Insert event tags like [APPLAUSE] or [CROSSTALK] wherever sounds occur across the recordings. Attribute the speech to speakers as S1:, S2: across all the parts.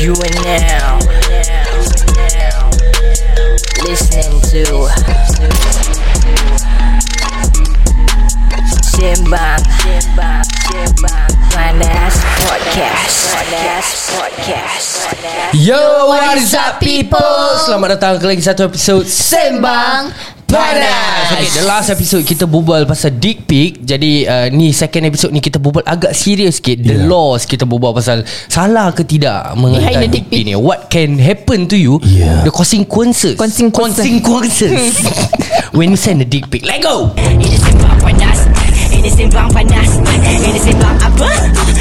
S1: You are now listening to Simbang Panas Podcast Panas Podcast
S2: Yo, what is up people? Selamat datang ke lagi satu episod Sembang Panas Okay, the last episode kita berbual pasal dick pic Jadi uh, ni second episode ni kita berbual agak serius sikit The
S3: Yeah.
S2: laws kita berbual pasal salah ke tidak mengenai
S4: Behind the
S2: dick
S4: dick
S2: pic
S4: pic.
S2: ni What can happen to you
S3: Yeah.
S2: The consequences
S4: Consequences. [LAUGHS]
S2: Consequences When you send a dick pic Let go!
S5: Ini sembang panas Ini sembang panas Ini sembang apa?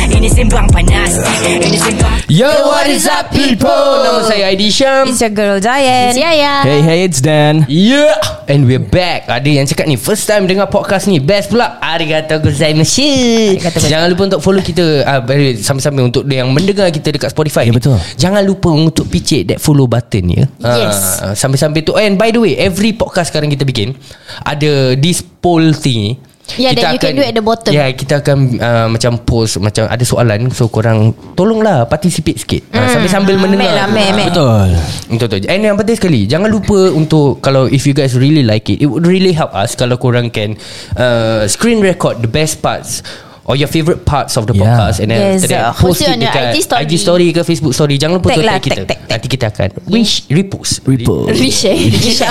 S5: Ini sembang panas Ini sembang
S2: Yo, what is up people? Nama saya Aidy Syam
S4: It's your girl Diane It's Yaya
S3: Hey, hey, it's Dan.
S2: Yeah And we're back Ada yang cakap ni First time dengar podcast ni Best pula Arigato gozaimasu
S4: Arigato gozaimasu.
S2: Jangan lupa untuk follow kita ah, very- Sambil-sambil untuk Yang mendengar kita Dekat Spotify
S3: Ya,
S2: ni.
S3: betul.
S2: Jangan lupa untuk picit That follow button ya
S4: Yes.
S2: Ah, Sambil-sambil tu And by the way Every podcast sekarang kita bikin Ada this poll thingy
S4: Yeah, Ya, that you can do at the bottom.
S2: Yeah, kita akan uh, macam post macam ada soalan so korang tolonglah participate sikit. Ah, sambil-sambil mendengar.
S4: Ambil lah,
S2: tu.
S4: ambil, ambil.
S3: Betul.
S2: Betul betul. And yang penting sekali Jangan lupa untuk Kalau if you guys really like it It would really help us Kalau korang can uh, Screen record the best parts Or your favourite parts of the
S3: Yeah.
S2: podcast And then after
S4: Yes,
S2: that,
S4: uh,
S2: Post
S4: post it
S2: it
S4: on your
S2: dekat
S4: IG story.
S2: IG story ke Facebook story Jangan lupa
S4: Tag
S2: tu
S4: lah,
S2: tag kita
S4: tag, tag, tag.
S2: Nanti kita akan Wish Repost
S3: Repost.
S4: Rish eh Rish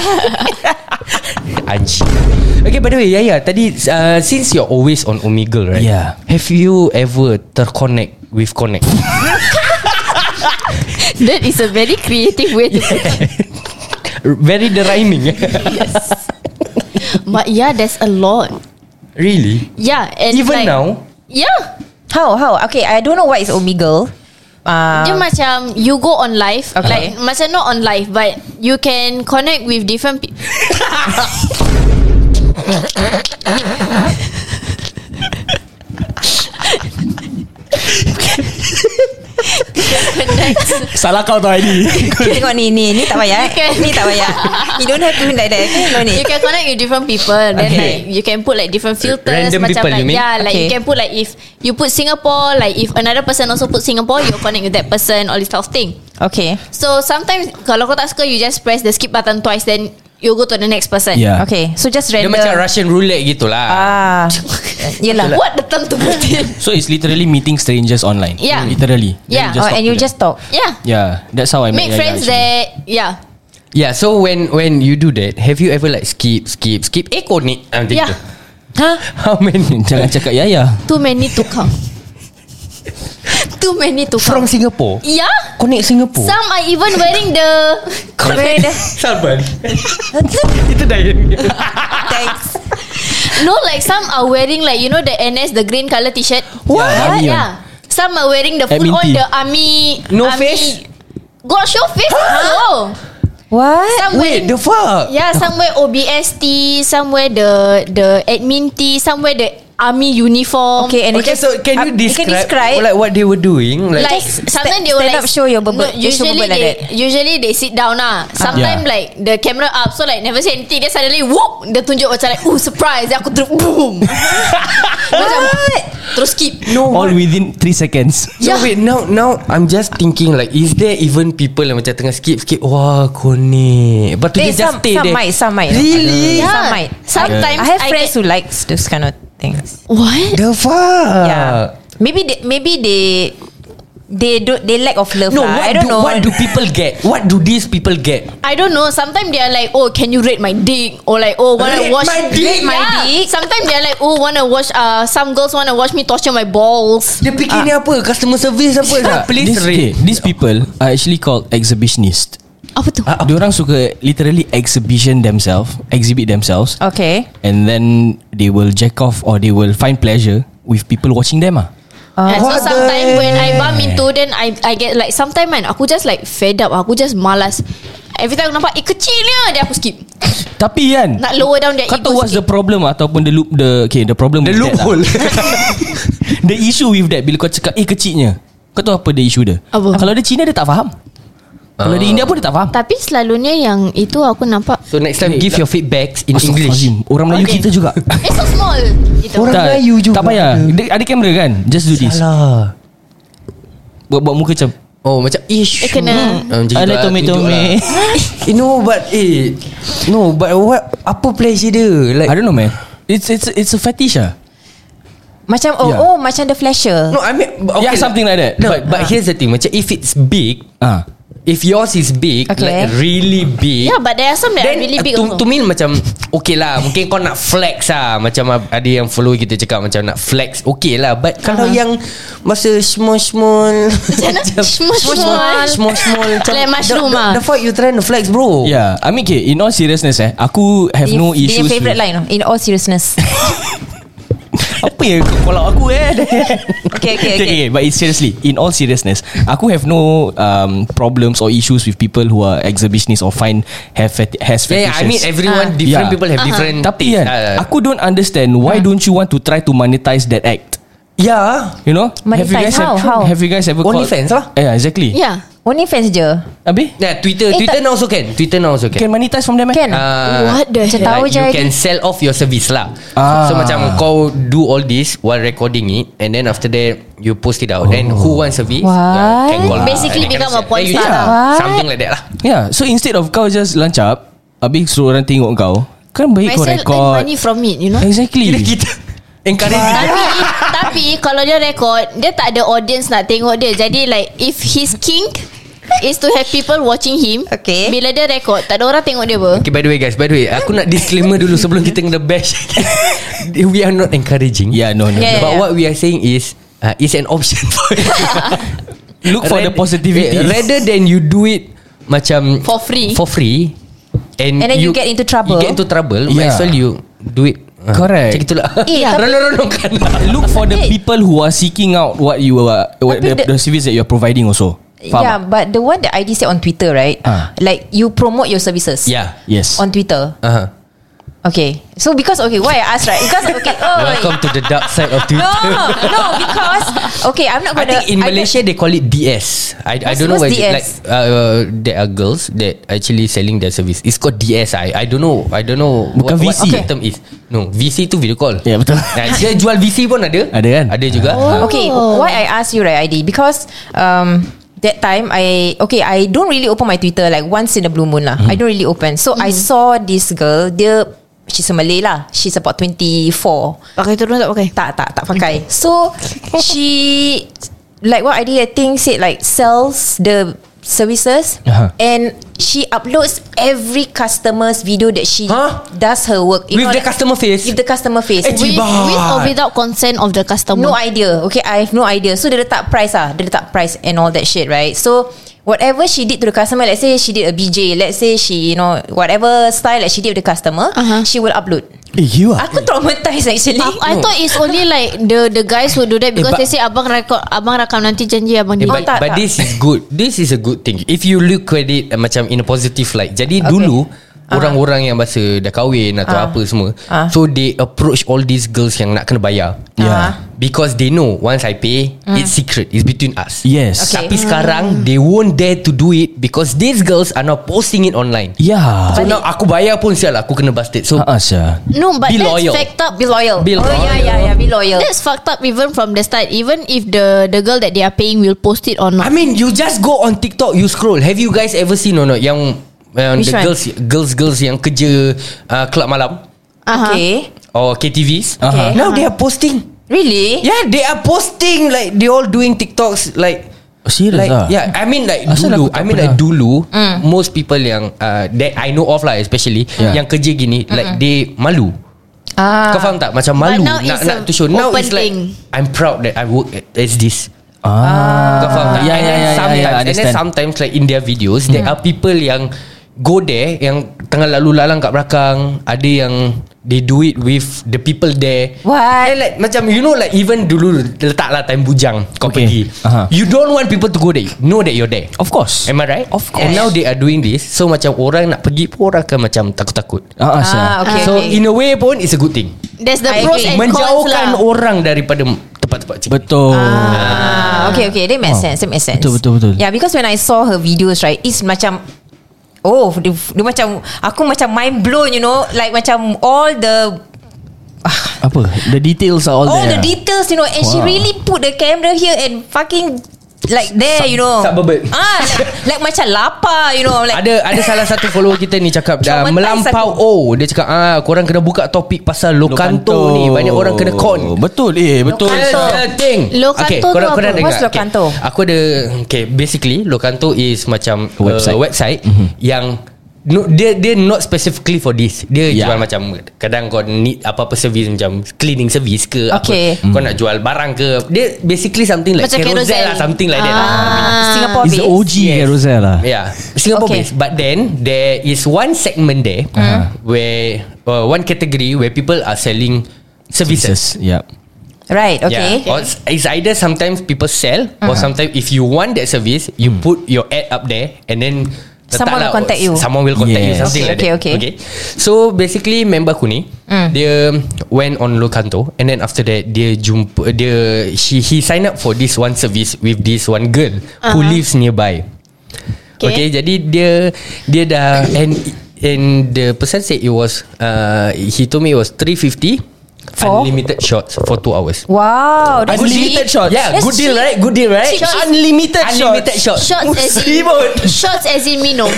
S2: Anji Okay by the way Yaya Tadi uh, Since you're always on Omegle right
S3: Yeah.
S2: Have you ever Terconnect With Connect [LAUGHS]
S4: That is a very creative way
S2: [LAUGHS]
S4: to
S2: Very eh? the rhyming
S6: [LAUGHS] But yeah, there's a lot.
S2: [LAUGHS] Really
S6: Yeah, and
S2: Even
S6: like,
S2: now
S6: yeah,
S4: How how Okay I don't know what is Omegle uh,
S6: dia macam you go on live,
S4: Okay.
S6: like macam not on live, but you can connect with different people.
S3: Salah kau tau ID.
S2: [LAUGHS]
S4: Tengok ni ni Ni tak payah eh.
S6: Okay.
S4: Ni tak
S6: [LAUGHS]
S4: payah You don't have to like that Okay no ni
S6: You can connect with different people. Then
S4: Okay.
S6: like you can put like different filters.
S2: Random
S6: macam
S2: people,
S6: like,
S2: you mean?
S6: Yeah, like you
S4: Okay.
S6: can put like if you put Singapore, like if another person also put Singapore, you connect with that person, all this type of thing.
S4: Okay
S6: So sometimes kalau kau tak suka, you just press the skip button twice, then you go to the next person.
S3: Yeah.
S4: Okay So just
S2: Dia
S4: random
S2: macam Russian roulette gitulah
S4: Ah Yelah
S6: What the term to put
S3: [LAUGHS]
S6: in?
S3: So it's literally meeting strangers online.
S6: Yeah.
S3: Literally.
S6: Yeah.
S4: Oh,
S3: talk
S4: and
S3: to
S4: you
S3: them.
S4: just talk
S6: Yeah.
S3: Yeah, that's how I met
S6: Make
S3: Yaya,
S6: friends
S3: actually.
S6: that yeah.
S2: Yeah, so when when you do that, have you ever like skip, skip, skip? Eh, kau ni. Ah, macam
S6: Yeah.
S2: tu.
S4: Huh?
S2: How many?
S3: [LAUGHS] Jangan cakap Yaya.
S6: Too many to count. [LAUGHS] Too many
S2: From
S6: to
S2: Oh.
S6: count.
S2: Singapore?
S6: Yeah.
S2: Connect Singapore?
S6: Some are even wearing
S2: [LAUGHS]
S6: the
S4: Very the- [LAUGHS]
S2: Salman. Itu dah yang
S4: Thanks
S6: [LAUGHS] no like some are wearing like you know the NS the green color T-shirt.
S3: What?
S6: Yeah.
S3: Army
S6: yeah. Some are wearing the full
S3: Admin
S6: on
S3: tee.
S6: the army.
S2: No
S6: army.
S2: face?
S6: Got show face. also.
S4: What?
S6: Some
S2: Wait,
S6: wearing
S2: the fuck?
S4: [LAUGHS]
S6: yeah, Ya, somewhere OBST, somewhere the the admin T, somewhere the army uniform.
S4: Okay and
S2: Okay,
S4: it just,
S2: so can you
S4: uh,
S2: describe,
S4: Can you describe
S2: like what they were doing? Like,
S6: like
S4: Just
S6: sometimes
S4: sta-
S6: they will
S4: stand
S6: like
S4: up, show your bubble- they show
S6: usually
S4: bubble like
S6: they-
S4: that. Ah.
S6: Usually they sit down lah. Sometimes
S3: Yeah.
S6: like the camera up, so like never say anything. Then suddenly whoop, dia tunjuk macam like, oh surprise, Then aku terus
S4: [LAUGHS]
S6: boom. macam terus skip.
S2: no,
S3: All
S2: what-
S3: within 3 seconds.
S2: No, wait, now now I'm just thinking like is there even people yang macam tengah skip skip wah kau ni. But they
S4: They,
S2: just
S4: Eh, some,
S2: stay
S4: some
S2: there.
S4: might Some might
S2: Really?
S4: Yeah. Some
S6: Yeah.
S4: might
S6: Sometimes
S4: I have
S6: I
S4: friends
S6: get-
S4: who likes Those kind of things
S6: What?
S2: The fuck?
S4: Yeah. Maybe they, maybe they they do they lack of love.
S2: No,
S4: lah.
S2: what
S4: I don't
S2: do,
S4: know.
S2: what do people get? What do these people get?
S6: I don't know. Sometimes they are like, oh, can you rate my dick? Or like, oh, wanna
S2: Rate
S6: watch
S2: my dick?
S6: my
S4: Yeah.
S6: dick. Sometimes they are like, oh, wanna watch. Uh, some girls wanna watch me torture my balls.
S2: Dia fikir
S4: Ah.
S2: ni apa? Customer service apa? tak? Please
S3: Ah, This, okay,
S2: rate.
S3: these people are actually called exhibitionist.
S6: Apa tu?
S3: Ah, Diorang suka literally exhibition themselves, exhibit themselves.
S4: Okay.
S3: And then they will jack off or they will find pleasure with people watching them ah.
S6: Yeah, so
S2: What the-
S6: sometimes when I bump into Then I I get like Sometimes man Aku just like fed up Aku just malas Every time aku nampak Eh kecilnya Dia aku skip
S3: Tapi kan
S6: Nak lower down their
S3: Kau
S6: ego
S3: tahu what's the
S6: sikit.
S3: problem ah, Ataupun the loop the, Okay the problem
S2: The
S3: with that
S2: loophole.
S3: lah. The issue with that Bila kau cakap Eh kecilnya Kau tahu apa the issue dia
S6: Apa?
S3: Kalau dia Cina dia tak faham Kalau dia India pun dia tak faham
S6: Tapi selalunya yang Itu aku nampak
S2: [LAUGHS] So next time give your feedbacks in English.
S3: Astaghfirullahalazim. lah. Orang Melayu
S6: Okay.
S3: kita juga
S6: [LAUGHS] It's so small Itu
S2: Orang Melayu juga Hmm.
S3: Tak payah
S2: ada.
S3: Dia- Ada kamera kan Just do this
S2: Alah.
S3: Buat buat muka macam
S2: Oh macam Ish
S6: Dia kena-
S2: Ah, macam gitu
S3: I like
S2: lah,
S3: tomato
S2: tunjuk lah.
S3: me. [LAUGHS]
S2: Eh, No but eh, No but what Apa pleasure dia Like
S3: I don't know man It's it's it's a fetish ah.
S4: Macam oh
S3: Yeah.
S4: oh macam the flasher.
S2: No I mean but
S3: Yeah, something like that.
S2: No
S3: But-
S2: but, but here's the thing Macam if it's big
S3: Ah.
S2: If yours is big
S4: Okay.
S2: Like really big
S6: Yeah but there are some that are
S2: Then uh,
S6: really big
S2: to,
S6: also.
S2: to me macam Okay lah Mungkin kau nak flex lah Macam ab- ada yang follow kita cakap Macam nak flex Okay lah But kalau
S6: Aha.
S2: yang Masa [LAUGHS] small-small Macam
S6: mana? Small-small.
S2: Small-small macam
S6: Like mushroom
S2: the,
S6: ah.
S2: the, the fuck you trying to flex bro
S3: Yeah, I mean, okay, in all seriousness eh, aku have
S4: Dia-
S3: no
S4: dia
S3: issues.
S4: favourite
S3: with-
S4: line oh, in all seriousness.
S3: Apa
S4: [LAUGHS]
S3: yang kau kolak aku
S6: [LAUGHS]
S3: eh?
S4: Okay, okay, okay.
S3: But it's seriously, in all seriousness, aku have no um, problems or issues with people who are exhibitionists or find have fet- has fetishes.
S2: Yeah, yeah I mean everyone
S6: Ah.
S2: Different
S3: Yeah.
S2: people have different
S3: Tapi kan,
S2: taste. Ah.
S3: aku don't understand why don't you want to try to monetize that act?
S2: Yeah
S3: You know? have you guys
S4: Monetize how?
S3: Have,
S4: How?
S3: Have you guys ever called-
S2: OnlyFans lah.
S3: Yeah, exactly.
S6: Yeah
S4: Only fans je.
S3: Abi,
S2: Yeah Twitter
S6: Eh,
S2: Twitter
S6: tak-
S2: now also can Twitter now also
S3: you
S2: can,
S3: can monetize from them eh?
S4: Kan?
S2: Ah,
S6: What the
S4: Macam
S6: hell?
S4: tahu
S2: like
S4: je
S2: you
S4: ID.
S2: can sell off your service lah
S3: Ah.
S2: ah. So macam kau do all this While recording it And then after that You post it out oh. Then who wants service
S4: What?
S2: Can lah. call
S6: Basically
S2: And they
S6: become
S2: can
S6: a porn
S2: sell.
S6: star
S2: Yeah.
S4: lah.
S2: Something like that lah
S3: Yeah, Ya, so instead of kau just lancap, habis suruh orang tengok kau, kan baik kau
S6: Myself earn
S3: record.
S6: money from it You know
S3: Exactly.
S2: Kira kita Encourage
S6: tapi tapi kalau dia record dia tak ada audience nak tengok dia jadi like if his kink is to have people watching him
S4: Okay.
S6: bila dia record tak ada orang tengok dia ber
S2: Okay by the way guys By the way Aku nak disclaimer dulu Sebelum kita kena bash [LAUGHS] We are not encouraging
S3: Yeah, no, no.
S6: Yeah,
S3: no.
S2: But
S6: yeah.
S2: what we are saying is uh, It's an option for you
S3: [LAUGHS] Look for the
S2: Rather- eh,
S3: positivity.
S2: Rather than you do it Macam
S6: For free.
S2: For free And,
S4: And then you get into trouble.
S2: You get into trouble yeah.
S3: Yeah.
S2: Might as well you Do it Ah,
S3: Correct.
S2: Macam itulah [LAUGHS]
S4: Eh,
S2: yeah.
S4: tapi-
S2: Renung-renungkan
S3: Look for the people who are seeking out what you are, what the,
S4: Tapi the-
S3: the, service that you are providing also. Faham?
S4: Yeah, but the one that ID said on Twitter, right?
S3: Ah.
S4: Like you promote your services.
S2: Yeah
S3: Yes.
S4: On Twitter.
S2: uh-huh.
S4: Okay. So because okay, why I ask right? Because okay, oh
S2: Welcome to the dark side of
S4: No,
S2: Twitter
S4: no, because okay, I'm not
S2: I
S4: gonna.
S2: think in
S4: I don't-
S2: Malaysia they call it DS. I I
S4: What's-
S2: don't know
S4: what's
S2: whether
S4: DS?
S2: like uh, there are girls that actually selling their service. It's called DS. I I don't know. I don't know
S3: Bukan
S2: what,
S3: VC.
S2: what the term is. No, VC tu video call.
S3: Ya, [LAUGHS] betul.
S2: Nah, dia jual VC pun ada.
S3: Ada kan?
S2: Ada juga. Oh.
S4: Okay, why I ask you right ID? Because um that time I okay I don't really open my Twitter like once in a blue moon lah.
S2: Hmm.
S4: I don't really open. So I saw this girl. Dia she's a Malay lah. She's about 24.
S6: pakai turun tak pakai
S4: Tak tak tak pakai So She Like what I did I think said like Sells the Services
S3: Aha.
S2: Uh-huh.
S4: And She uploads Every customer's video That she
S2: Huh?
S4: Does her work
S2: With the customer face?
S4: With the customer face
S2: Eh,
S6: with,
S2: Cibat.
S6: with or without consent of the customer
S4: No idea Okay I have no idea So dia letak price ah Dia letak price And all that shit right So Whatever she did to the customer Let's say she did a BJ Let's say she you know Whatever style That she did with the customer
S6: Aha.
S4: She will upload
S3: Eh, you are.
S4: Aku traumatized actually
S6: Uh-huh. I, I thought it's only like the the guys who do that because
S2: Eh, but-
S6: they say abang record abang rakam nanti janji abang
S2: Eh,
S6: dia.
S2: but,
S4: oh, tak,
S2: but
S4: tak.
S2: this is good. This is a good thing. If you look at it uh, macam in a positive light. Jadi okay. dulu orang-orang yang bahasa dah kahwin atau
S4: Ah.
S2: apa semua,
S4: Ah.
S2: so they approach all these girls yang nak kena bayar.
S4: Yeah.
S2: Because they know once I pay,
S4: Mm.
S2: it's secret. It's between us.
S3: Yes.
S4: Okay. Hmm.
S2: Tapi sekarang They won't dare to do it Because these girls Are now posting it online
S3: Yeah.
S2: So now aku bayar pun Sial lah, aku kena busted So
S3: Ya. Ha Asya.
S6: no, but
S2: Be
S6: that's
S2: loyal.
S6: fact up.
S4: Be loyal
S2: Be
S4: Oh yeah yeah yeah Be loyal
S6: That's fucked up even from the start. Even if the the girl that they are paying will post it or
S2: I
S6: not.
S2: mean you just go on TikTok You scroll Have you guys ever seen or not Yang uh, The
S4: Which one?
S2: girls Girls girls yang kerja uh, Club malam
S6: Aha.
S4: Okay
S2: Or KTVs
S3: Okay.
S2: Now they are posting
S4: Really?
S2: Yeah they are posting Like they all doing TikToks Like
S3: Serious
S2: like,
S3: ah?
S2: Yeah I mean like
S3: Asal
S2: dulu
S3: aku tak
S2: I mean
S3: pernah?
S2: like dulu
S6: Hmm.
S2: Most people yang uh, That I know of lah especially
S3: Yeah.
S2: Yang kerja gini Like they malu
S4: Ah.
S2: Kau faham tak Macam
S6: Hmm. But
S2: malu
S6: now
S2: Nak,
S6: it's
S2: nak
S6: a
S2: to show Now
S6: open
S2: it's like
S6: thing.
S2: I'm proud that I work at- As this
S3: Ah.
S2: Kau faham tak
S3: Yeah,
S2: And then
S3: yeah, yeah,
S2: sometimes
S3: yeah, yeah,
S2: And then
S3: ya, understand. Hmm.
S2: sometimes Like in their videos There are people yang Go there Yang tengah lalu lalang kat belakang Ada yang They do it with The people there
S4: What?
S2: And like, Macam you know like Even dulu Letaklah time bujang Kau
S3: Okay.
S2: pergi
S3: Aha.
S2: You don't want people to go there Know that you're there
S3: Of course.
S2: Am I right?
S3: Of course.
S2: And now they are doing this So macam orang nak pergi pun Orang akan macam takut-takut
S3: Ha Asya.
S4: Ah, okay,
S2: So
S4: okay.
S2: in a way pun It's a good thing
S6: There's the
S4: I
S6: pros and
S4: agree.
S6: cons
S2: menjauhkan
S6: lah.
S2: orang daripada tempat-tempat macam
S3: Betul.
S4: Ah, okay, okay. That makes
S3: Oh.
S4: sense. That makes sense.
S3: Betul, betul, betul.
S4: Yeah, because when I saw her videos, right, it's macam Oh, dia, dia macam Aku macam mind blown you know Like macam All the
S3: Apa? The details are all
S4: All,
S3: there.
S4: the details you know And she
S3: Wow.
S4: really put the camera here And fucking like there you know
S2: suburban.
S4: ah like, like macam lapar you know like
S2: ada ada salah satu follower kita ni cakap dah
S4: Traumatized
S2: melampau
S4: aku.
S2: oh dia cakap ah korang kena buka topik pasal lokanto,
S3: Lokanto.
S2: ni banyak orang kena con.
S3: Betul eh betul.
S2: That's the thing.
S6: Lokanto
S2: okay,
S6: tu
S2: korang,
S6: apa?
S2: korang dengar.
S4: What's Lokanto?
S2: Okay. Aku ada okay basically lokanto is macam website,
S3: Website.
S2: uh, website mm-hmm. yang No, dia dia not specifically for this. Dia
S3: Yeah.
S2: yeah. jual macam kadang kau need apa-apa service macam cleaning service ke
S4: Okay.
S2: apa. Kau nak jual barang ke. Dia basically something like
S6: Macam Carousel.
S2: lah something like that.
S6: Ah.
S4: Singapore
S3: It's
S4: based
S3: OG yes. Carousel lah.
S2: Yeah, Ya. Singapore
S4: Okay.
S2: okay. based. But then there is one segment there uh-huh. where uh, one category where people are selling services.
S3: Yes. Yep.
S4: right okay
S2: Yeah. Or it's- it's either sometimes people sell uh-huh. or sometimes if you want that service, you mm. put your ad up there and then
S4: Someone
S2: letaklah,
S4: will contact you.
S2: Someone will contact you
S3: Yes.
S2: something
S4: Okay,
S2: like
S4: okay,
S2: that.
S4: okay. Hmm.
S2: okay. So basically member aku ni mm. dia went on Lokanto and then after that dia jumpa dia she he sign up for this one service with this one girl uh-huh. who lives nearby. Okay.
S6: Okay.
S2: okay jadi dia dia dah and and the person said it was uh he told me it was 350
S4: For?
S2: unlimited shots for 2 hours.
S4: wow that's
S3: Unlimited
S4: cheap.
S3: shots.
S2: Yeah,
S4: That's
S2: good deal
S4: cheap.
S2: right? Good deal right?
S6: Cheap shots.
S2: Unlimited shots. Unlimited shots.
S6: Shots as in
S2: Musibut.
S6: Shots as in minum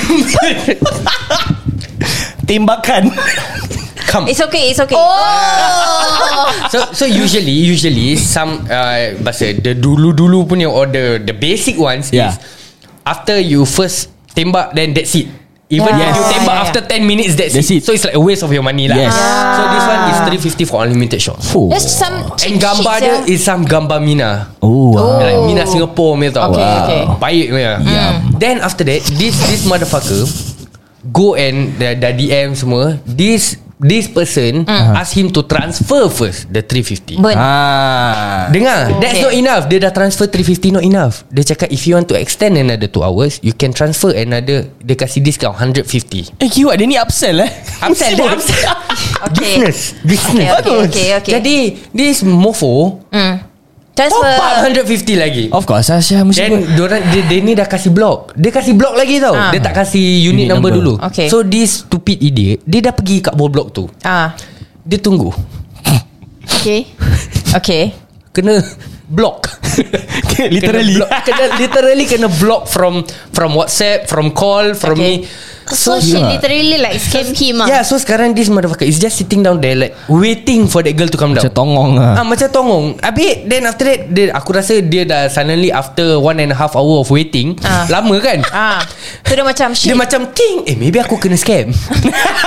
S3: Tembakan.
S2: Come.
S4: it's okay it's okay
S6: Oh
S2: [LAUGHS] So so usually usually some uh, bahasa the dulu-dulu punya or the the basic ones yeah.
S3: Yeah.
S2: is after you first tembak then that's it. Even
S4: Yeah.
S2: if you
S4: Yes.
S2: tembak
S4: Yeah, yeah.
S2: after 10 minutes that's,
S3: That's
S2: it.
S3: it.
S2: So it's like a waste of your money lah.
S3: Yes.
S2: So this one is 350 for unlimited shots.
S3: Oh.
S6: That's some
S2: And gambar dia is some gambar Mina.
S3: Oh. Wow.
S2: Like Mina Singapore punya tau
S4: Okay, okay. Hmm.
S2: Baik punya yeah. Then after that This this motherfucker Go and Dah, dah DM semua This This person
S4: Hmm.
S2: Ask him to transfer first The 350
S4: burn
S3: Ah.
S2: Dengar okay. That's
S4: Okay.
S2: not enough Dia dah transfer 350 not enough Dia cakap If you want to extend another 2 hours You can transfer another Dia kasih discount 150
S3: Eh kiwak dia ni upsell eh.
S2: Upsell
S3: [LAUGHS]
S2: dia upsell
S4: [LAUGHS] Okay.
S2: Business Business
S4: Okay, okay, okay, okay.
S2: Jadi This mofo Top
S4: transfer
S2: up 150 lagi
S3: Of course Asya mesti
S2: Then
S3: buat.
S2: diorang, dia, dia ni dah kasih blok Dia kasih blok lagi tau
S4: Ah.
S2: Dia tak kasih unit,
S3: Unit
S2: number,
S3: number.
S2: dulu
S4: Okay.
S2: So this stupid idiot Dia dah pergi kat bawah blok tu
S4: ah
S2: Dia tunggu
S6: Okay
S4: okay
S2: Kena block
S3: Literally.
S2: kena, block, kena Literally kena block from From whatsapp From call From me
S4: Okay.
S6: So, she literally like scam him ah.
S2: Yeah so sekarang this motherfucker Is just sitting down there Like waiting for that girl to come down
S3: Macam tongong
S2: Ah,
S3: lah
S2: macam tongong Habis Then after that dia, Aku rasa dia dah Suddenly after One and a half hour of waiting
S4: Ah.
S2: Lama kan
S4: ah tu dia macam shit
S2: Dia macam ting Eh maybe aku kena
S6: [LAUGHS]
S2: scam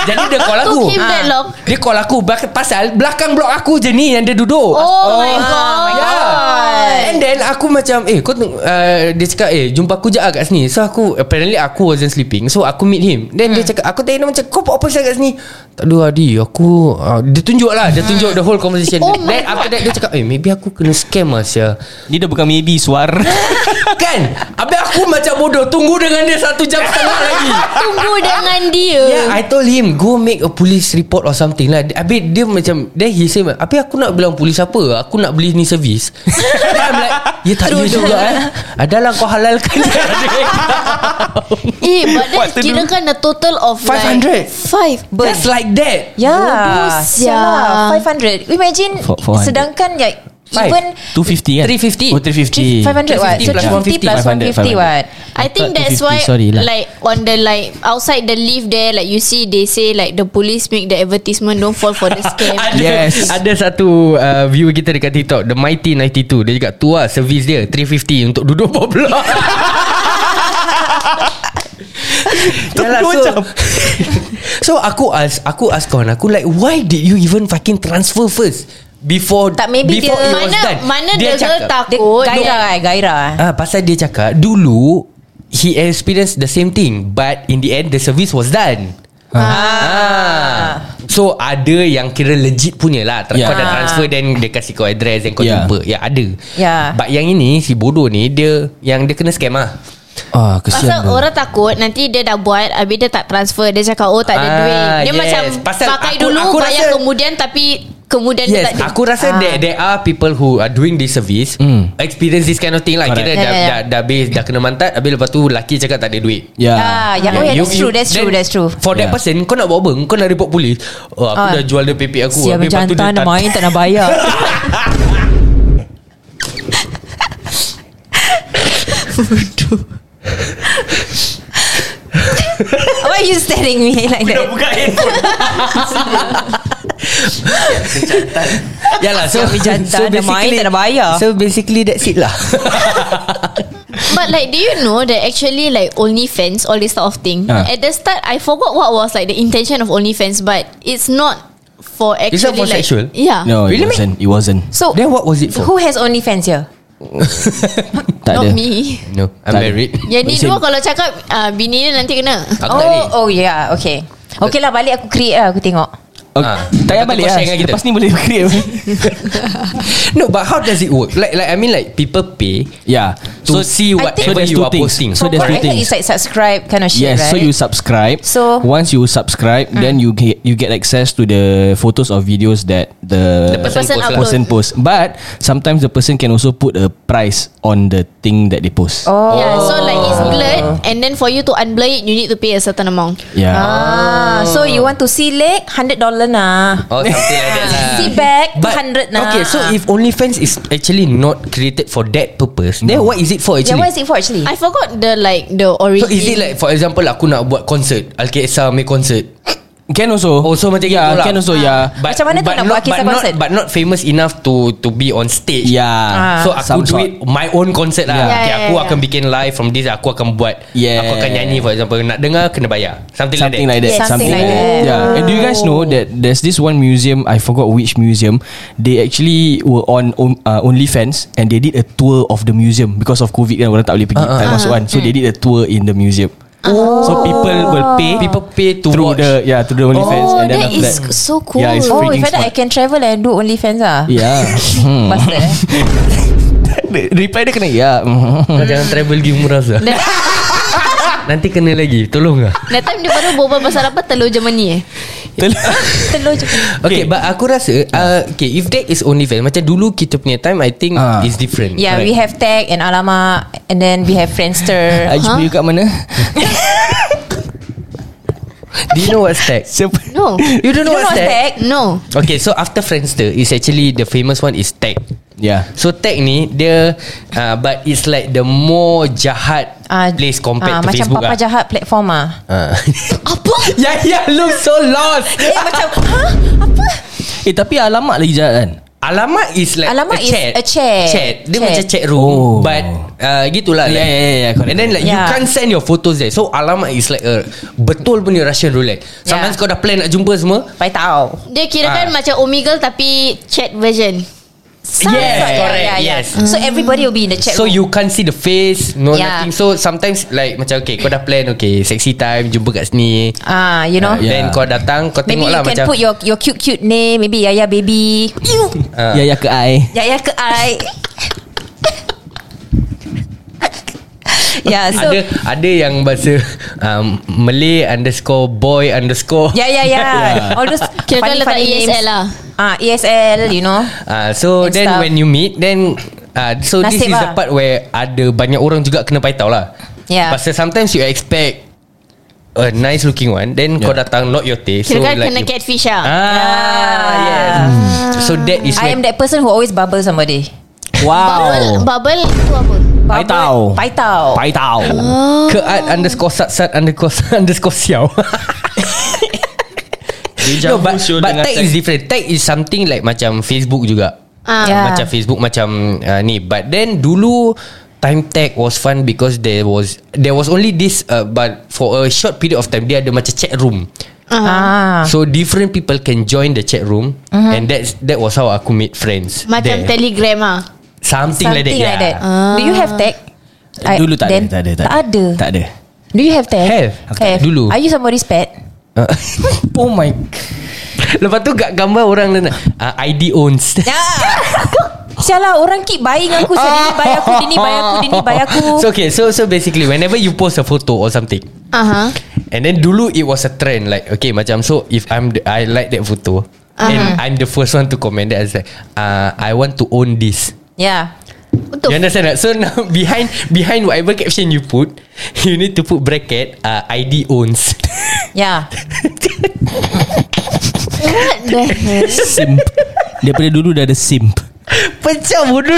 S2: Jadi dia call
S6: Took
S2: aku Ah.
S6: him that long.
S2: Dia call aku bak- Pasal belakang blok aku je ni Yang dia duduk
S6: Oh, my god.
S4: my
S2: Yeah. And then aku macam Eh kau teng- uh, Dia cakap Eh jumpa aku je lah kat sini So aku Apparently aku wasn't sleeping So aku meet him Then
S6: Hmm.
S2: dia cakap Aku tanya dia macam Kau buat apa saya kat sini Tak ada Adi Aku uh, Dia tunjuk lah Dia tunjuk the whole conversation
S6: Oh my
S2: Then after that dia cakap Eh maybe aku kena scam lah Sia
S3: Ni dah bukan maybe suara
S2: [LAUGHS] Kan Habis aku macam bodoh Tunggu dengan dia Satu jam setengah lagi
S6: Tunggu dengan dia
S2: Yeah, Ya, I told him go make a police report or something lah. Habis dia macam then he say, "Habis aku nak bilang polis apa? Aku nak beli ni servis." Then I'm like, "Ya tak you juga eh. Adalah kau halalkan dia."
S6: Eh but
S3: What
S6: that
S3: to
S6: kira
S3: do?
S6: kan a total of
S2: 500.
S6: like, Five But
S2: Just like that.
S4: Yeah
S6: sial.
S4: Sialah 500 Imagine
S3: Four- four hundred.
S4: Sedangkan like
S2: Five.
S4: Even
S3: 250 kan
S2: 350.
S3: Oh 350
S4: 500 what
S2: 350
S4: So
S2: plus
S4: 350 plus 150
S3: 150
S4: what
S6: I think
S3: thought
S6: that's
S3: 250,
S6: why
S3: sorry lah.
S6: Like on the like Outside the lift there Like you see They say like The police make the advertisement Don't fall for the scam
S2: Ada,
S3: Yes.
S2: ada satu uh, viewer kita dekat TikTok The Mighty 92 Dia juga tua Servis dia 350 untuk duduk bawah blok [LAUGHS] Yalah,
S3: Dua
S2: so,
S3: jam.
S2: [LAUGHS] so aku ask Aku ask kawan aku Like why did you even Fucking transfer first Before
S4: Tak, maybe
S2: before
S4: dia-
S2: it was
S6: Mana
S2: done.
S6: Mana
S2: Dia
S6: the girl
S2: cakap-
S4: Dia
S6: takut
S4: gairah
S6: dia-
S4: eh Gairah eh
S2: Ah, pasal dia cakap dulu he experienced the same thing but in the end the service was done. Ah. So ada yang kira legit punya lah Tra-
S3: Yeah.
S2: Kau dah transfer Then dia kasih kau address Then kau
S3: Yeah.
S2: jumpa Ya ada
S4: Yeah.
S2: But yang ini Si bodoh ni Dia Yang dia kena scam lah
S3: Ah kesian
S6: Pasal
S3: tu.
S6: orang takut Nanti dia dah buat Habis dia tak transfer Dia cakap oh tak ada
S2: Ah,
S6: duit Dia
S2: yes.
S6: macam
S2: Pasal
S6: Pakai
S2: aku-
S6: dulu
S2: aku
S6: Bayar
S2: rasa-
S6: kemudian Tapi Kemudian dia
S2: Yes
S6: tak ada
S2: Aku rasa
S4: Ah.
S2: there, there are people Who are doing this service
S3: Mm.
S2: Experience this kind of thing lah
S3: Correct.
S2: Kira
S4: Yeah,
S2: dah,
S4: yeah, yeah.
S2: dah, dah, habis, dah kena mantat Habis lepas tu Laki cakap tak ada duit
S3: Ya
S4: Ah, ya, oh, yeah,
S2: You-
S4: that's true,
S2: you-
S4: that's true,
S2: then
S4: that's true.
S2: For that
S3: Yeah.
S2: person Kau nak buat apa Kau nak report polis oh, Aku
S4: Ah.
S2: dah jual dia PP aku
S4: Sial
S2: Habis
S4: macam
S2: lepas tu dia
S4: hantar nak
S2: tak-
S4: main tak nak
S2: [LAUGHS]
S4: bayar bodoh Why are you staring me like that?
S3: buka handphone Ya lah,
S2: Yalah so,
S4: Yang jantan,
S2: so
S4: ada main, tak ada bayar.
S2: So basically that's it lah
S6: But like, do you know that actually like OnlyFans, all this sort of thing?
S3: Ah.
S6: At the start, I forgot what was like the intention of OnlyFans, but it's not for actually
S2: It's not for
S6: like,
S2: sexual?
S6: Yeah.
S3: No
S2: Really,
S3: it
S2: mate?
S3: wasn't It wasn't
S4: So
S2: Then what was it for?
S4: Who has OnlyFans here?
S3: Tak
S6: Not
S3: ada
S6: me.
S2: No I'm
S3: Tak ada.
S2: married
S6: Yang ni
S3: Listen.
S6: dua kalau cakap uh, bini dia nanti kena.
S2: Aku tak boleh
S4: Oh, oh yeah, okay. Okay lah balik aku create lah aku tengok.
S3: okay.
S2: Ah.
S3: Tak
S2: Lepas
S3: payah
S2: tu
S3: balik
S2: kau
S3: lah
S2: share dengan kita.
S3: Lepas ni boleh [LAUGHS] create
S2: No but how does it work? Like like I mean like people pay
S3: Yeah
S2: To so, see
S4: I think- So
S2: whatever
S3: there's
S2: you
S3: two
S2: are
S3: things.
S2: posting
S3: So
S4: So
S3: there's
S4: what
S3: two
S4: I heard
S3: things.
S4: is like subscribe kind of shit,
S3: Yes,
S4: right?
S3: so you subscribe.
S4: So- Mm.
S3: once you subscribe, then you get you get access to the photos or videos that the,
S2: The person
S6: Person post lah.
S3: person post. But sometimes the person can also put a price on the thing that they post.
S4: oh.
S6: Yeah, so like it's blurred and then for you to unblur it, you need to pay a certain amount.
S3: Yeah.
S4: Ah, so you want to see leg $100 nah. [LAUGHS]
S2: Or something like that lah
S4: See back $200 nah.
S2: Okay so if OnlyFans is actually not created for that purpose Then what is it for
S4: Yeah,
S2: actually?
S4: what is it for actually?
S6: I forgot the like the origin.
S2: So is it like For example aku nak buat concert Alkesa make concert
S3: Can also.
S2: Oh, so macam
S3: yeah,
S2: gitu lah.
S3: Can also yeah.
S2: But-
S4: Macam mana tu
S2: but
S4: nak
S2: not-
S4: buat Alkisah
S2: but not-
S4: concert?
S2: But not famous enough to to be on stage
S3: Yeah.
S4: Ah.
S2: So aku
S3: Some
S2: do
S3: sort.
S2: it My own concert lah
S3: Yeah.
S2: yeah. okay,
S6: Yeah,
S2: Aku
S6: yeah,
S2: akan bikin live From this Aku akan buat
S3: Yeah.
S2: Aku akan nyanyi for example Nak dengar kena bayar Something,
S3: Something
S2: like that
S3: like that.
S4: Yes, something like that.
S3: Yeah. And do you guys know that there's this one museum? I forgot which museum. They actually were on on- uh, OnlyFans and they did a tour of the museum because of COVID kan orang tak boleh pergi tak masuk kan. So they did a tour in the museum.
S2: Oh.
S3: So people
S4: Oh.
S3: will pay
S2: People pay to
S3: through
S2: watch
S3: the yeah through the OnlyFans
S6: Oh,
S3: and then
S6: that
S3: after that,
S6: is so cool.
S3: Yeah, it's
S4: oh,
S3: freaking
S4: if I, I
S3: smart.
S4: can travel and do OnlyFans ah.
S3: Yeah. Hmm.
S4: Bastard eh.
S3: Reply dia kena ya. [LAUGHS]
S2: Hmm. Kau jangan travel pergi umrah sah.
S6: That-
S2: lah. [LAUGHS] Nanti kena lagi Tolong lah
S6: That time dia baru berbual pasal apa telur Germany eh.
S4: Telur je.
S2: [LAUGHS] Okay, okay but aku rasa uh, Okay if that is OnlyFans Macam dulu kita punya time I think
S3: Ah.
S2: is different
S4: Yeah, we have tag and alamak and then we have
S2: [LAUGHS]
S4: Friendster.
S3: IGP huh? kat mana?
S2: Do you know what's tag?
S3: [LAUGHS] Siapa?
S6: No.
S2: You don't know
S4: You don't
S2: what's
S4: know
S2: tag?
S4: what's
S6: No.
S2: Okay so after Friendster Is actually the famous one is tag
S3: Yeah.
S2: So tag ni Dia uh, But it's like the more jahat
S4: Ah,
S2: Place
S4: ah,
S2: compared to
S4: Macam
S2: Facebook
S4: Papa
S2: lah.
S4: Jahat platform ah.
S2: Ah.
S6: Apa?
S2: [LAUGHS] Ya ya look so
S4: [LAUGHS]
S2: lost
S4: Eh macam ha?
S3: Eh tapi alamat lagi jahat kan?
S2: Alamak is like
S4: Alamak
S2: a
S4: is
S2: chat.
S4: a chat.
S2: Chat. Dia
S4: Chat.
S2: macam chat room
S3: Oh.
S2: but uh, gitulah
S3: Yeah, yeah, yeah, yeah, correct,
S2: And then like you
S4: correct. Yeah.
S2: can't send your photos there. So alamak is like a betul punya Russian roulette. Sometimes
S4: Yeah.
S2: kau dah plan nak jumpa semua.
S4: Pai tahu.
S6: Dia kira kan
S2: Ah.
S6: macam Omegle tapi chat version.
S4: Some
S2: Yes,
S4: sort,
S2: correct, yes.
S4: So everybody will be in the chat
S2: so
S4: room.
S2: you can't see the face No
S4: Yeah.
S2: nothing So sometimes like Macam okay Kau dah plan Okay sexy time Jumpa kat sini
S4: ah, you know.
S2: uh, yeah. Then
S3: Yeah.
S2: kau datang Kau
S4: Maybe
S2: tengok
S4: you
S2: lah
S4: can
S2: macam
S4: put your your cute cute name. Maybe Yaya baby. You.
S2: Ah.
S3: Ya ya ke I.
S4: Yaya ke I. yeah, so
S2: ada ada yang bahasa um, Malay underscore boy underscore
S4: Yeah, yeah, yeah.
S3: Yeah.
S4: All those
S6: Kira kan letak ESL lah.
S4: Ah, ESL, you know.
S2: Uh, so
S4: And
S2: then
S4: stuff.
S2: when you meet then uh, so this
S4: Nasib
S2: is the
S4: lah. Ya.
S2: part where ada banyak orang juga kena paitao lah.
S4: Yeah.
S2: Pasal sometimes you expect a nice looking one then yeah. kau datang not your taste.
S6: Kira kan kena
S2: you-
S6: catfish lah.
S2: Ah, yes. So that is
S4: I am
S2: when
S4: that person who always bubble somebody.
S3: Oh.
S6: Bubble, bubble tu apa?
S4: Bubble,
S3: Paitao.
S4: Paitao.
S3: Pai tau.
S2: ke at underscore sat sat underscore underscore [LAUGHS] siao. no, but, but tag is different. Tag is something like macam Facebook juga.
S6: Ah.
S4: Yeah.
S2: Macam Facebook macam uh, ni But then dulu Time tag was fun because there was There was only this uh, But for a short period of time Dia ada macam chat room
S4: Ah.
S2: So different people can join the chat room And that's that was how aku made friends
S6: Macam
S2: there.
S6: telegram ah.
S2: Something, like that, yeah.
S4: Ah. Do you have tag? Uh, I-
S3: Dulu tak
S4: then-
S3: ada, tak ada, tak ada.
S4: ada.
S3: Tak ada.
S4: Do you have tag?
S2: Have. Aku tak ada. Dulu.
S4: Are you somebody's pet?
S2: [LAUGHS] Oh my Lepas tu kat gambar orang dia nak, uh, ID owns
S4: Sialah orang keep buying aku so Dini buy aku Dini buy aku Dini buy aku
S2: [LAUGHS] So okay so so basically whenever you post a photo or something
S6: Aha.
S2: And then dulu it was a trend like okay macam so if I'm the, I like that photo uh-huh. and I'm the first one to comment that I was like uh, I want to own this.
S4: Yeah
S6: Betul.
S2: You understand that? So [LAUGHS] now behind behind whatever caption you put, [LAUGHS] you need to put bracket uh, ID owns.
S4: Yeah
S6: What the hell?
S2: [LAUGHS]
S3: Simp. Daripada dulu dah ada simp.
S2: Pecah bodoh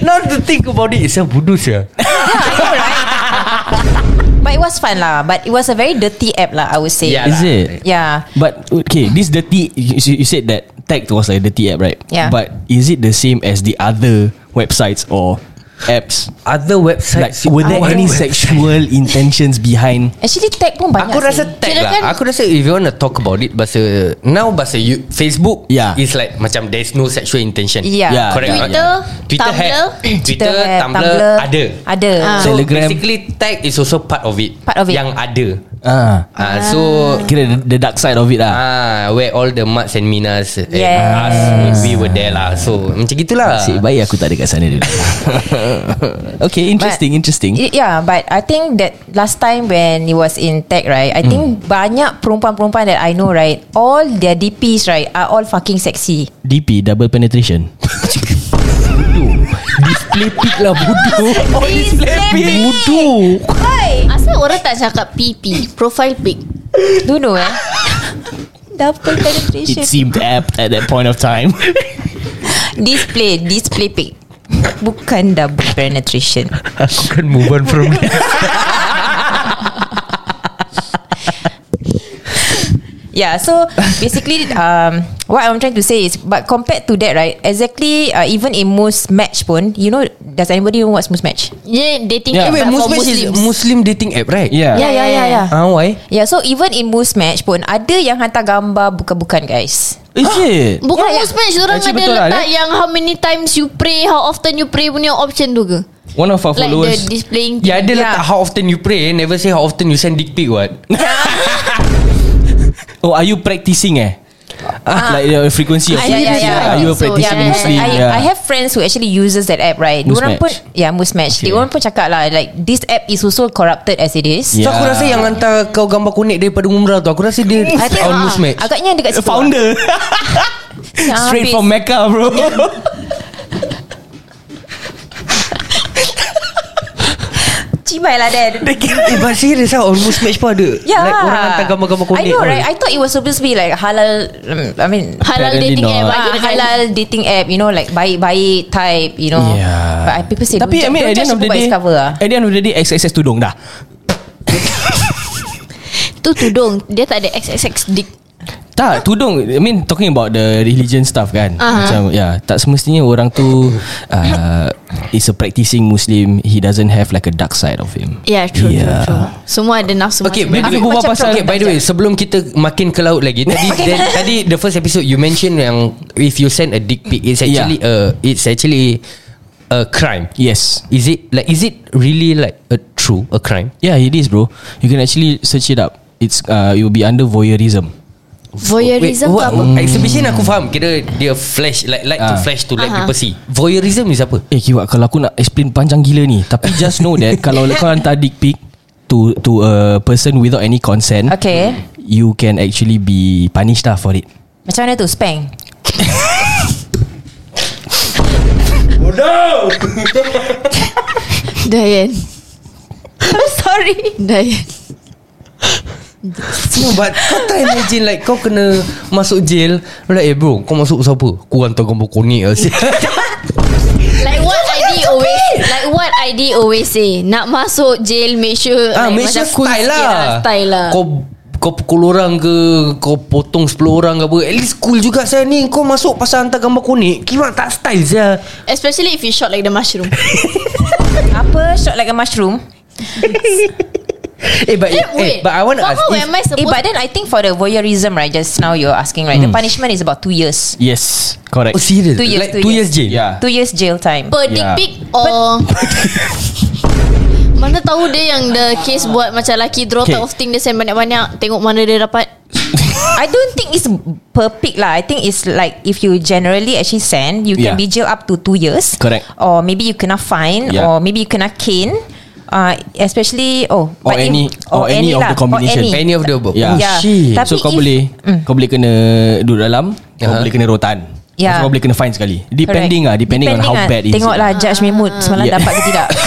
S2: Now to think about it It's a bodoh sih
S4: Yeah I know it was fun lah, but it was a very dirty app lah. I would say.
S2: Yeah.
S3: Is it?
S4: Yeah.
S3: But okay, this dirty you, you said that tag was like dirty app, right?
S4: Yeah.
S3: But is it the same as the other websites or apps?
S2: Other
S3: Like
S2: websites
S3: were there
S2: Other
S3: any
S2: website.
S3: sexual intentions behind?
S4: Actually tag pun banyak.
S2: Aku rasa
S4: sih.
S2: tag
S6: Kirakan-
S2: lah Aku rasa if you want to talk about it Bahasa Now bahasa you, Facebook
S3: Yeah.
S2: Is like Macam there's no sexual intention
S4: Yeah.
S3: Yeah.
S2: Correct
S6: Twitter,
S2: Yeah. Ah, Twitter
S6: Tumblr.
S2: have. Twitter,
S4: have,
S2: Tumblr, Ada
S4: Ada.
S6: Ah.
S2: So
S3: Telegram.
S2: basically tag is also part of it
S4: Part of it.
S2: Yang ada
S3: Ah,
S2: ah. So
S3: kira the, the dark side of it lah.
S2: ah, Where all the marks and minas And
S4: Yes.
S2: us We were there lah So macam gitulah
S3: Nasib baik aku tak ada kat sana dulu.
S2: [LAUGHS]
S3: okay, interesting,
S4: But-
S3: interesting.
S4: Y- Yeah, but I think that last time when it was in tech, right? I think banyak perempuan-perempuan that I know, right? All their DPs, right, are all fucking sexy.
S3: DP double
S4: [LAUGHS]
S3: penetration.
S2: Display pic lah bodoh
S3: Oh,
S4: display pic.
S3: Bodoh.
S6: Asal orang tak cakap PP Profile pic
S4: Don't know, eh? Double penetration.
S3: It seemed apt at that point of time.
S4: display, display pic. Bukan double penetration.
S2: [LAUGHS] Aku kan move on from
S3: [LAUGHS]
S2: that
S4: Yeah, so basically, um, what I'm trying to say is, but compared to that, right? Exactly, uh, even in most match pun, you know, does anybody know what's most match?
S6: Yeah dating
S3: Yeah.
S2: Eh,
S6: app
S2: Wait,
S6: but for
S2: Muslim is
S6: Muslims
S2: Muslim dating app right
S3: Yeah.
S4: Yeah, yeah, yeah, yeah.
S2: Ah, why?
S4: Yeah, Ya, so even in Moose Match pun ada yang hantar gambar bukan-bukan guys.
S3: Is it?
S6: Bukan yeah,
S4: Ya, ya.
S6: yeah. Orang
S3: Actually
S6: ada
S3: betul lah,
S6: letak yang How many times you pray How often you pray Punya option tu ke
S3: One of our
S6: Like
S3: followers.
S6: the displaying
S2: Ya ada letak
S4: Yeah.
S2: how often you pray eh? Never say how often you send dick pic what
S3: Oh, are you practicing eh? like the frequency of
S4: Ah, yeah, yeah,
S3: frequency,
S4: yeah.
S3: right? Are you a
S6: So,
S3: practicing
S6: yeah,
S3: Muslim?
S4: I,
S3: yeah.
S4: I have friends who actually uses that app right.
S3: Moose Match.
S4: Diorang pun yeah, Moose Match.
S3: Okay.
S4: Okay. Diorang pun cakap lah like this app is also corrupted as it is.
S2: So
S3: Yeah.
S2: aku rasa yang hantar kau gambar kunik daripada umrah tu Aku rasa dia
S4: I think
S2: on Moose
S4: ah,
S2: Match
S4: Agaknya dekat situ. [LAUGHS]
S3: Founder
S4: Ah,
S3: Straight
S4: habis.
S3: from Mecca
S4: [LAUGHS]
S3: bro
S4: Cimai lah Dan.
S2: Eh but serious lah On Moose Match pun ada
S4: Yeah.
S2: Like orang hantar gambar-gambar kunik
S4: I know
S2: all.
S4: right. I thought it was supposed to be like halal um, I mean
S6: Halal
S3: Apparently
S6: dating app
S3: not.
S6: ah,
S4: Ah,
S6: Halal
S4: halal dating app You know like Baik-baik type You know
S3: Yeah.
S4: But I, people say
S3: Tapi I mean at the end of the day
S4: cover, lah.
S3: At the end of the day XXX tudung dah
S6: Tu tudung Dia tak ada XXX dick
S3: Tak tudung I mean talking about the religion stuff kan
S6: Aha.
S3: Macam yeah, Tak semestinya orang tu uh, Is a practicing Muslim He doesn't have like a dark side of him
S6: Yeah Ya, true,
S2: Ya.
S3: Yeah.
S6: true true Semua ada nafsu
S2: Okay, by the way,
S6: masing-masing.
S3: Aku berbual
S2: macam
S3: pasal-
S2: okay, by the way, sebelum kita makin ke laut lagi, tadi then, tadi the first episode you mention yang if you send a dick pic, it's actually yeah. a it's actually a crime.
S3: Yes
S2: Is it like is it really like a true a crime?
S3: Yeah it is bro You can actually search it up It's uh, It will be under voyeurism
S2: Wait,
S6: Voyeurism ke
S2: what-
S6: apa [LAUGHS]
S2: Exhibition aku faham Kira dia flash Like like to
S3: Ah.
S2: flash To let
S6: Aha.
S2: people see Voyeurism ni siapa?
S3: Eh kiwak kalau aku nak explain panjang gila ni Tapi
S4: [LAUGHS]
S3: just know that Kalau kau hantar dick pic To to a person without any consent
S4: Okay
S3: You can actually be punished lah for it
S4: Macam mana tu Spank
S6: Dayan I'm [LAUGHS] sorry Dayan
S2: No but Kau tak imagine like Kau kena Masuk jail Like eh bro Kau masuk siapa? Aku hantar gambar konik lah [LAUGHS]
S6: Like what ID always Like what ID always say Nak masuk jail Make sure
S2: Ah,
S6: like,
S2: make sure
S6: macam cool
S2: style
S6: sikit
S2: lah
S6: Style lah
S2: Kau kau pukul orang ke Kau potong 10 orang ke apa At least cool juga saya ni Kau masuk pasal hantar gambar konik Kira tak style saya
S6: Especially if you shot like
S2: [LAUGHS]
S6: the mushroom
S4: Apa shot like a mushroom
S2: Eh but, eh, eh,
S6: Wait
S2: but I want to
S6: how-
S2: ask
S6: How
S2: if-
S6: am I
S4: Eh but
S6: supposed
S4: then I think for the voyeurism right Just now you're asking right The
S3: Hmm.
S4: punishment is about 2 years
S3: Yes Correct
S2: Oh serious?
S4: Two years,
S2: like
S4: two
S2: 2 years. jail?
S4: years.
S3: Yeah
S4: 2 years jail time
S6: Per dick
S3: Yeah.
S6: pic
S2: [LAUGHS]
S6: Or Mana tahu dia yang The case buat Macam lelaki Draw
S3: Okay.
S6: okay. type of thing Dia send banyak-banyak Tengok mana dia dapat
S4: I don't think it's per pic lah I think it's like If you generally actually send You
S3: Yeah.
S4: can be jail up to 2 years
S3: Correct.
S4: Or maybe you kena fine
S3: Yeah.
S4: Or maybe you kena cane uh, Especially Oh
S3: Or
S4: but if-
S3: any- or any of
S4: lah,
S3: the combination.
S4: or any.
S2: Any of the above Oh,
S3: Yeah.
S4: Yeah.
S2: shit.
S4: Tapi
S3: So kau
S4: if- Mm.
S3: boleh Kau boleh kena Duduk dalam Kau
S2: Uh-huh.
S3: boleh kena rotan
S4: Yeah.
S3: Kau boleh kena fine sekali Depending
S4: Correct.
S3: lah Depending, on how
S4: lah.
S3: bad it is
S4: Tengoklah judge my mood
S6: Ah.
S4: Semalam
S3: Yeah.
S4: dapat ke
S3: [LAUGHS]
S4: tidak
S2: [LAUGHS]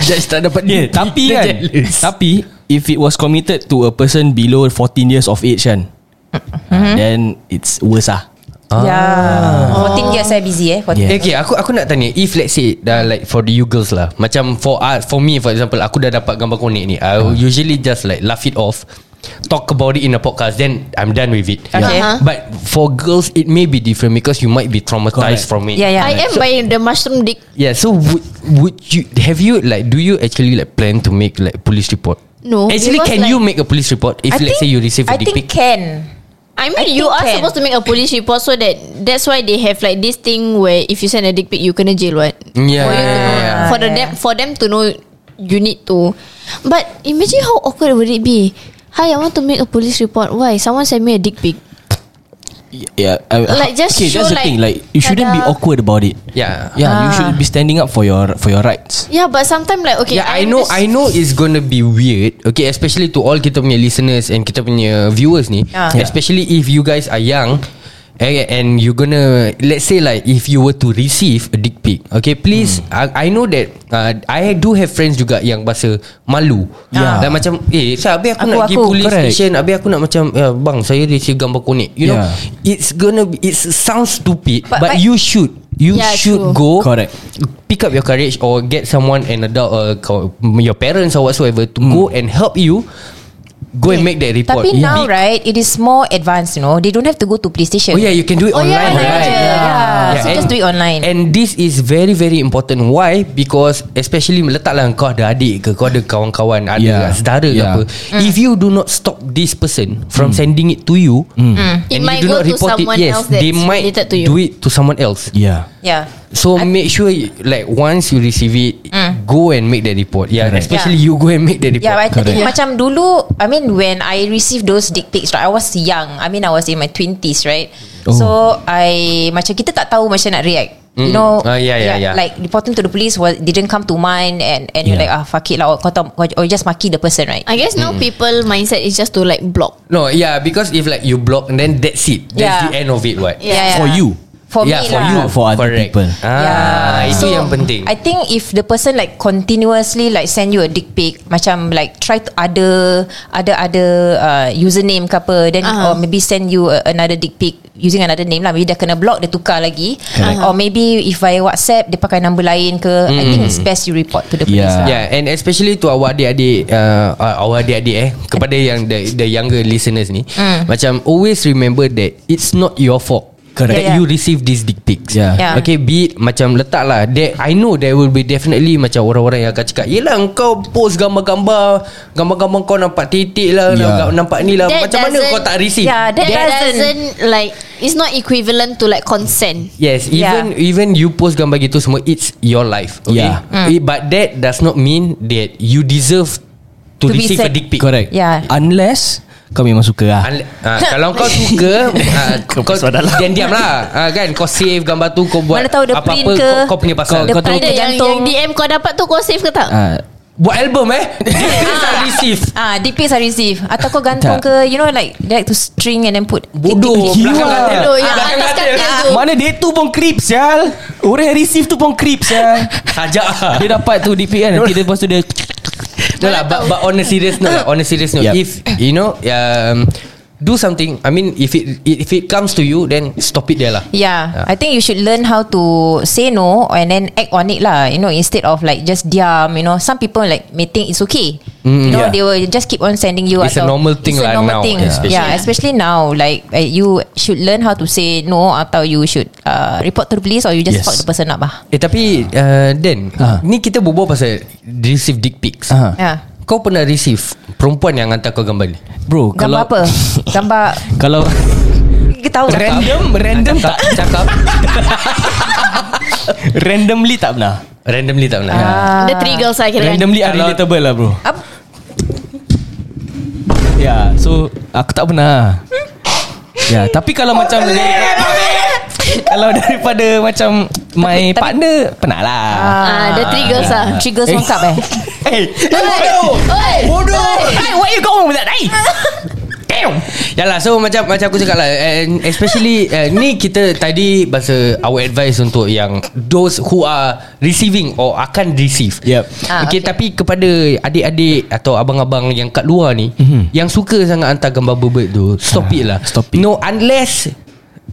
S2: Judge tak dapat
S3: Yeah, tapi
S2: Dia
S3: kan
S2: jealous.
S3: Tapi If it was
S4: Mm-hmm.
S3: committed to a person Below 14 years of age kan Then It's worse lah
S4: Yeah 14 Ya, years saya busy eh 14
S2: Yeah. Okay, aku aku nak tanya if let's say dah like for the you girls lah. Macam for uh, for me for example, aku dah dapat gambar konek ni. I uh. usually just like laugh it off. Talk about it in a podcast Then I'm done with it
S4: Okay. Uh-huh.
S2: But for girls It may be different Because you might be traumatized
S3: Correct.
S2: from it
S4: Yeah, yeah.
S6: I am buying the mushroom dick.
S2: Yeah so would, would you Have you like Do you actually like plan to make like police report
S6: No,
S2: Actually
S6: because,
S2: can
S6: like-
S2: you make a police report If
S4: I
S2: let's
S4: think-
S2: say you receive a
S4: I
S2: dick pic
S4: think can
S6: I mean,
S4: I
S6: you
S4: think
S6: are
S4: can.
S6: supposed to make a police report so that that's why they have like this thing where if you send a dick pic, you kena jail, right?
S2: Yeah, yeah, yeah, Ah, yeah.
S6: For the them, for them to know you need to. But imagine how awkward would it be. Hi, I want to make a police report. Why? Someone sent me a dick pic.
S3: Yeah, I,
S6: Like, just
S3: okay,
S6: show
S3: that's the
S6: like-
S3: thing. Like you shouldn't be
S6: Tada.
S3: awkward about it.
S2: Yeah
S3: Yeah, you should be standing up for your for your rights.
S6: Yeah, but sometimes like okay,
S2: Yeah, I know I know it's gonna be weird. Okay, especially to all kita punya listeners and kita punya viewers ni.
S4: Ah.
S2: Yeah. Especially if you guys are young eh, and you gonna let's say like if you were to receive a dick pic. Okay, please I, I know that uh, I do have friends juga yang bahasa malu.
S3: Yeah.
S2: Like macam eh saya habis aku,
S4: Aku-
S2: nak pergi
S4: aku.
S2: police
S3: Correct.
S2: station, habis aku nak macam ya, bang saya receive gambar konek. You know,
S3: Yeah.
S2: it's gonna be, it sounds stupid but,
S4: But-
S2: but,
S4: but-
S2: you should you
S6: Yeah,
S2: should
S6: true.
S2: go
S3: Correct.
S2: pick up your courage or get someone an adult uh, co- your parents or whatsoever to go and help you go and make that report
S4: Tapi now
S2: Be-
S4: right It is more advanced you know They don't have to go to PlayStation
S2: Oh yeah, you can do it
S6: Oh, yeah,
S2: online,
S6: yeah,
S2: right?
S6: yeah, yeah.
S4: So just do it online.
S2: And this is very very important. Why? Because especially letaklah kau ada adik ke, kau ada kawan-kawan, ada
S3: Yeah.
S2: saudara
S3: Yeah.
S2: ke apa.
S6: Hmm.
S2: If you do not stop this person from sending it to you, and
S6: Hmm.
S2: you
S6: It might
S2: do not
S6: go to
S2: report it,
S6: someone
S2: yes,
S6: else
S2: they
S6: that's
S2: might
S6: related to you.
S2: do it to someone else.
S3: Yeah.
S4: Yeah
S2: So I, make sure you- like once you receive it, go and make that report. Yeah,
S3: Correct.
S2: especially you go and make that report.
S4: Mm. Yeah, but I think
S3: Correct.
S4: macam dulu, I mean when I received those dick pics, right, I was young. I mean I was in my 20s, right?
S3: Oh.
S4: Oh. So I macam kita tak tahu macam nak react. You
S2: Mm-mm.
S4: know,
S2: Ah, yeah, yeah, yeah.
S4: Like reporting to the police was didn't come to mind, and and you're like
S3: Yeah.
S4: ah fuck it lah, or, kau tahu- or you just maki the person, right?
S6: I guess now
S2: Mm.
S6: people mindset is just to like block.
S2: no, yeah, because if like you block and then that's it. That's
S4: Yeah.
S2: the end of it. What?
S4: Yeah,
S3: For
S4: yeah.
S3: you.
S4: for
S2: yeah,
S4: me
S2: for
S4: lah.
S2: you,
S3: For other people.
S2: Ah,
S4: Yeah.
S2: itu
S4: So,
S2: yang penting.
S4: I think if the person like continuously like send you a dick pic, macam like try to ada ada ada uh, username ke apa, then
S6: Uh-huh.
S4: uh-huh. or maybe send you a, another dick pic using another name lah. Maybe dia kena block, dia tukar lagi.
S3: Correct.
S4: Or maybe if via WhatsApp dia pakai number lain ke. I think it's best you report to the police.
S3: Yeah.
S4: lah.
S2: Hmm. Yeah, Ya, and especially to our adik-adik, uh, uh, our adik-adik eh, kepada yang the, the younger listeners ni,
S6: Hmm.
S2: mm. macam always remember that it's not your fault.
S3: Correct.
S2: That
S6: Ya,
S4: Yeah, yeah.
S2: you receive these dick pics
S3: Yeah.
S4: Yeah.
S2: Okay be it Macam letak lah there, I know there will be definitely Macam orang-orang yang akan cakap Yelah kau post gambar-gambar Gambar-gambar kau nampak titik lah
S3: Yeah.
S2: yeah. Nampak ni lah
S6: That
S2: Macam mana
S6: doesn't- Ya,
S2: kau tak receive
S4: Yeah,
S6: That,
S4: That
S6: doesn't,
S4: doesn't-
S6: like it's not equivalent to like consent.
S2: Yes,
S4: Yeah.
S2: even even you post gambar gitu semua it's your life, okay?
S3: Yeah.
S4: Mm.
S2: It, but that does not mean that you deserve to,
S4: To be
S2: receive a
S4: sent-
S2: dick pic.
S3: Correct.
S4: Yeah.
S3: Unless kau memang suka lah.
S2: Unle-
S4: [LAUGHS]
S2: ah, kalau kau suka
S3: [LAUGHS]
S2: ah, kau, kau diam diam lah ah, kan kau save gambar tu kau buat
S4: Mana tahu dia
S2: apa-apa
S4: print ke,
S2: kau, kau punya pasal
S4: dia
S2: kau, tahu
S4: print
S6: Ada yang, yang
S4: Tergantung-
S6: DM kau dapat tu kau save ke tak?
S3: Ah,
S2: buat album
S4: [LAUGHS]
S2: eh tak receive
S4: Ah, dick pics I receive Atau kau gantung
S3: Tak.
S4: ke You know like They like to string and then put
S2: bodoh
S3: Gila.
S2: belakang katil
S6: Bodoh,
S4: ya,
S6: yang
S2: belakang
S6: atas
S2: katil
S6: katil.
S3: Mana dia tu pun creep sial Orang yang receive tu pun creep sial
S2: sajak ah. [LAUGHS]
S3: Dia dapat tu DP kan Nanti dia lepas tu dia
S2: No lah, but, but on a serious note, lah, on a serious note,
S3: Yup.
S2: if you know, um, do something. I mean, if it if it comes to you, then stop it there lah.
S4: Yeah,
S2: Yeah.
S4: I think you should learn how to say no and then act on it lah. You know, instead of like just diam. You know, some people like may think it's okay. you
S3: yeah.
S4: know, they will just keep on sending you.
S2: Mm, It's a
S4: atau-
S2: normal thing
S4: it's
S2: lah
S4: a
S2: now,
S4: normal Thing.
S2: yeah,
S4: Yeah.
S2: especially.
S4: Especially. now, like uh, you should learn how to say no atau you should uh, report to the police or you just
S3: Yes.
S4: fuck the person up lah.
S2: Eh tapi uh, Dan,
S3: Ah.
S2: ni kita berbual pasal receive dick pics.
S3: Ah.
S4: Yeah.
S2: Kau pernah receive perempuan yang hantar kau gambar ni?
S3: Bro
S4: Gambar
S2: [LAUGHS]
S3: kalau
S4: apa? Gambar
S3: Kalau
S4: kita tahu.
S3: Random Random tak
S2: Cakap
S3: Randomly tak pernah
S2: randomly tak pernah.
S6: The three girls I kira kan.
S3: Randomly
S2: Kalau-
S3: unrelatable lah bro
S4: Apa?
S3: Ya yeah, so Aku tak pernah Ya yeah, tapi kalau macam Kalau daripada macam My partner Pernah lah
S6: Ah, the three girls ah.
S4: Three girls one
S6: [LAUGHS]
S4: cup eh.
S3: Hey
S6: Oi.
S3: Hey where you going with that
S2: [LAUGHS]
S3: Hey
S2: Yalah so macam macam aku cakap lah and especially uh, ni kita tadi bahasa our advice untuk yang those who are receiving or akan receive.
S3: Yep.
S2: Ah,
S4: Ah,
S2: okay, okay
S4: okay.
S2: tapi kepada adik-adik atau abang-abang yang kat luar ni mm-hmm. yang suka sangat hantar gambar bebek tu stop it lah.
S3: stop Mhm. Ah, it.
S2: No unless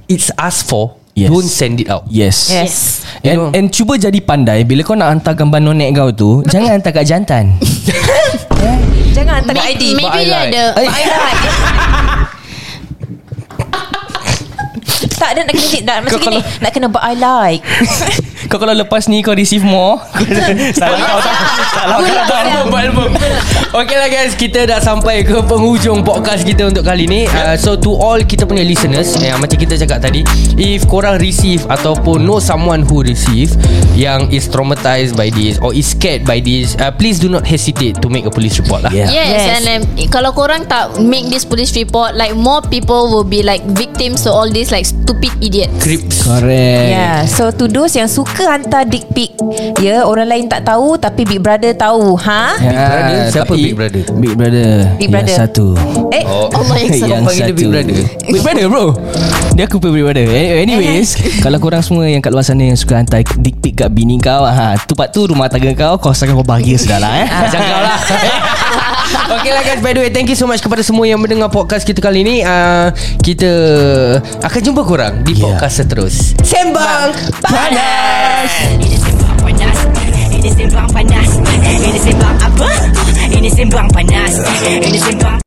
S2: it's asked for,
S3: Yes.
S2: don't send it out.
S3: Yes.
S4: Yes.
S2: You know.
S3: And, and cuba jadi pandai Bila kau nak hantar gambar nonek kau tu
S2: [LAUGHS]
S3: Jangan hantar kat jantan
S4: Jangan hantar kat ID
S6: Maybe dia
S2: like.
S6: ada
S4: But I like Tak ada nak kena nak, Macam
S3: Kau
S4: gini
S3: kalau-
S4: Nak kena but I like
S3: Kau kalau lepas ni Kau receive more Salah kau tak Salah kau
S2: Album,
S3: tak
S2: album, album. Okay lah guys Kita dah sampai ke penghujung podcast kita untuk kali ni uh, So to all kita punya listeners yang Macam kita cakap tadi If korang receive Ataupun know someone who receive Yang is traumatized by this Or is scared by this uh, Please do not hesitate To make a police report lah
S3: Yeah.
S6: Yes,
S4: Yes.
S6: yes. and um, kalau korang tak make this police report, like more people will be like victims to all these like stupid idiots.
S2: Crips
S3: Correct
S4: Yeah Ya. So to those yang suka Hantar dick pic Ya yeah, Orang lain tak tahu Tapi big brother tahu Ha
S3: Big
S2: Brother? Siapa Big Brother?
S3: Ah, Big Brother
S4: Big Brother.
S3: Yang satu
S4: Eh oh.
S2: Allah
S3: Yang
S2: panggil dia Big
S3: satu.
S2: Brother
S3: Big Brother bro Dia aku pun Big Brother Any-
S2: [LAUGHS]
S3: Anyways Kalau korang semua yang kat luar sana Yang suka hantar dick pic kat bini kau ha, Tu part tu rumah tangga kau Kau asalkan kau bahagia sudah lah eh
S2: Macam kau [LAUGHS] lah Okay lah guys By the way Thank you so much Kepada semua yang mendengar Podcast kita kali ni uh, Kita Akan jumpa korang Di
S3: Yeah.
S2: podcast seterus Sembang Panas
S5: Ini sembang panas Ini sembang panas Ini sembang apa Ini sembang panas Ini sembang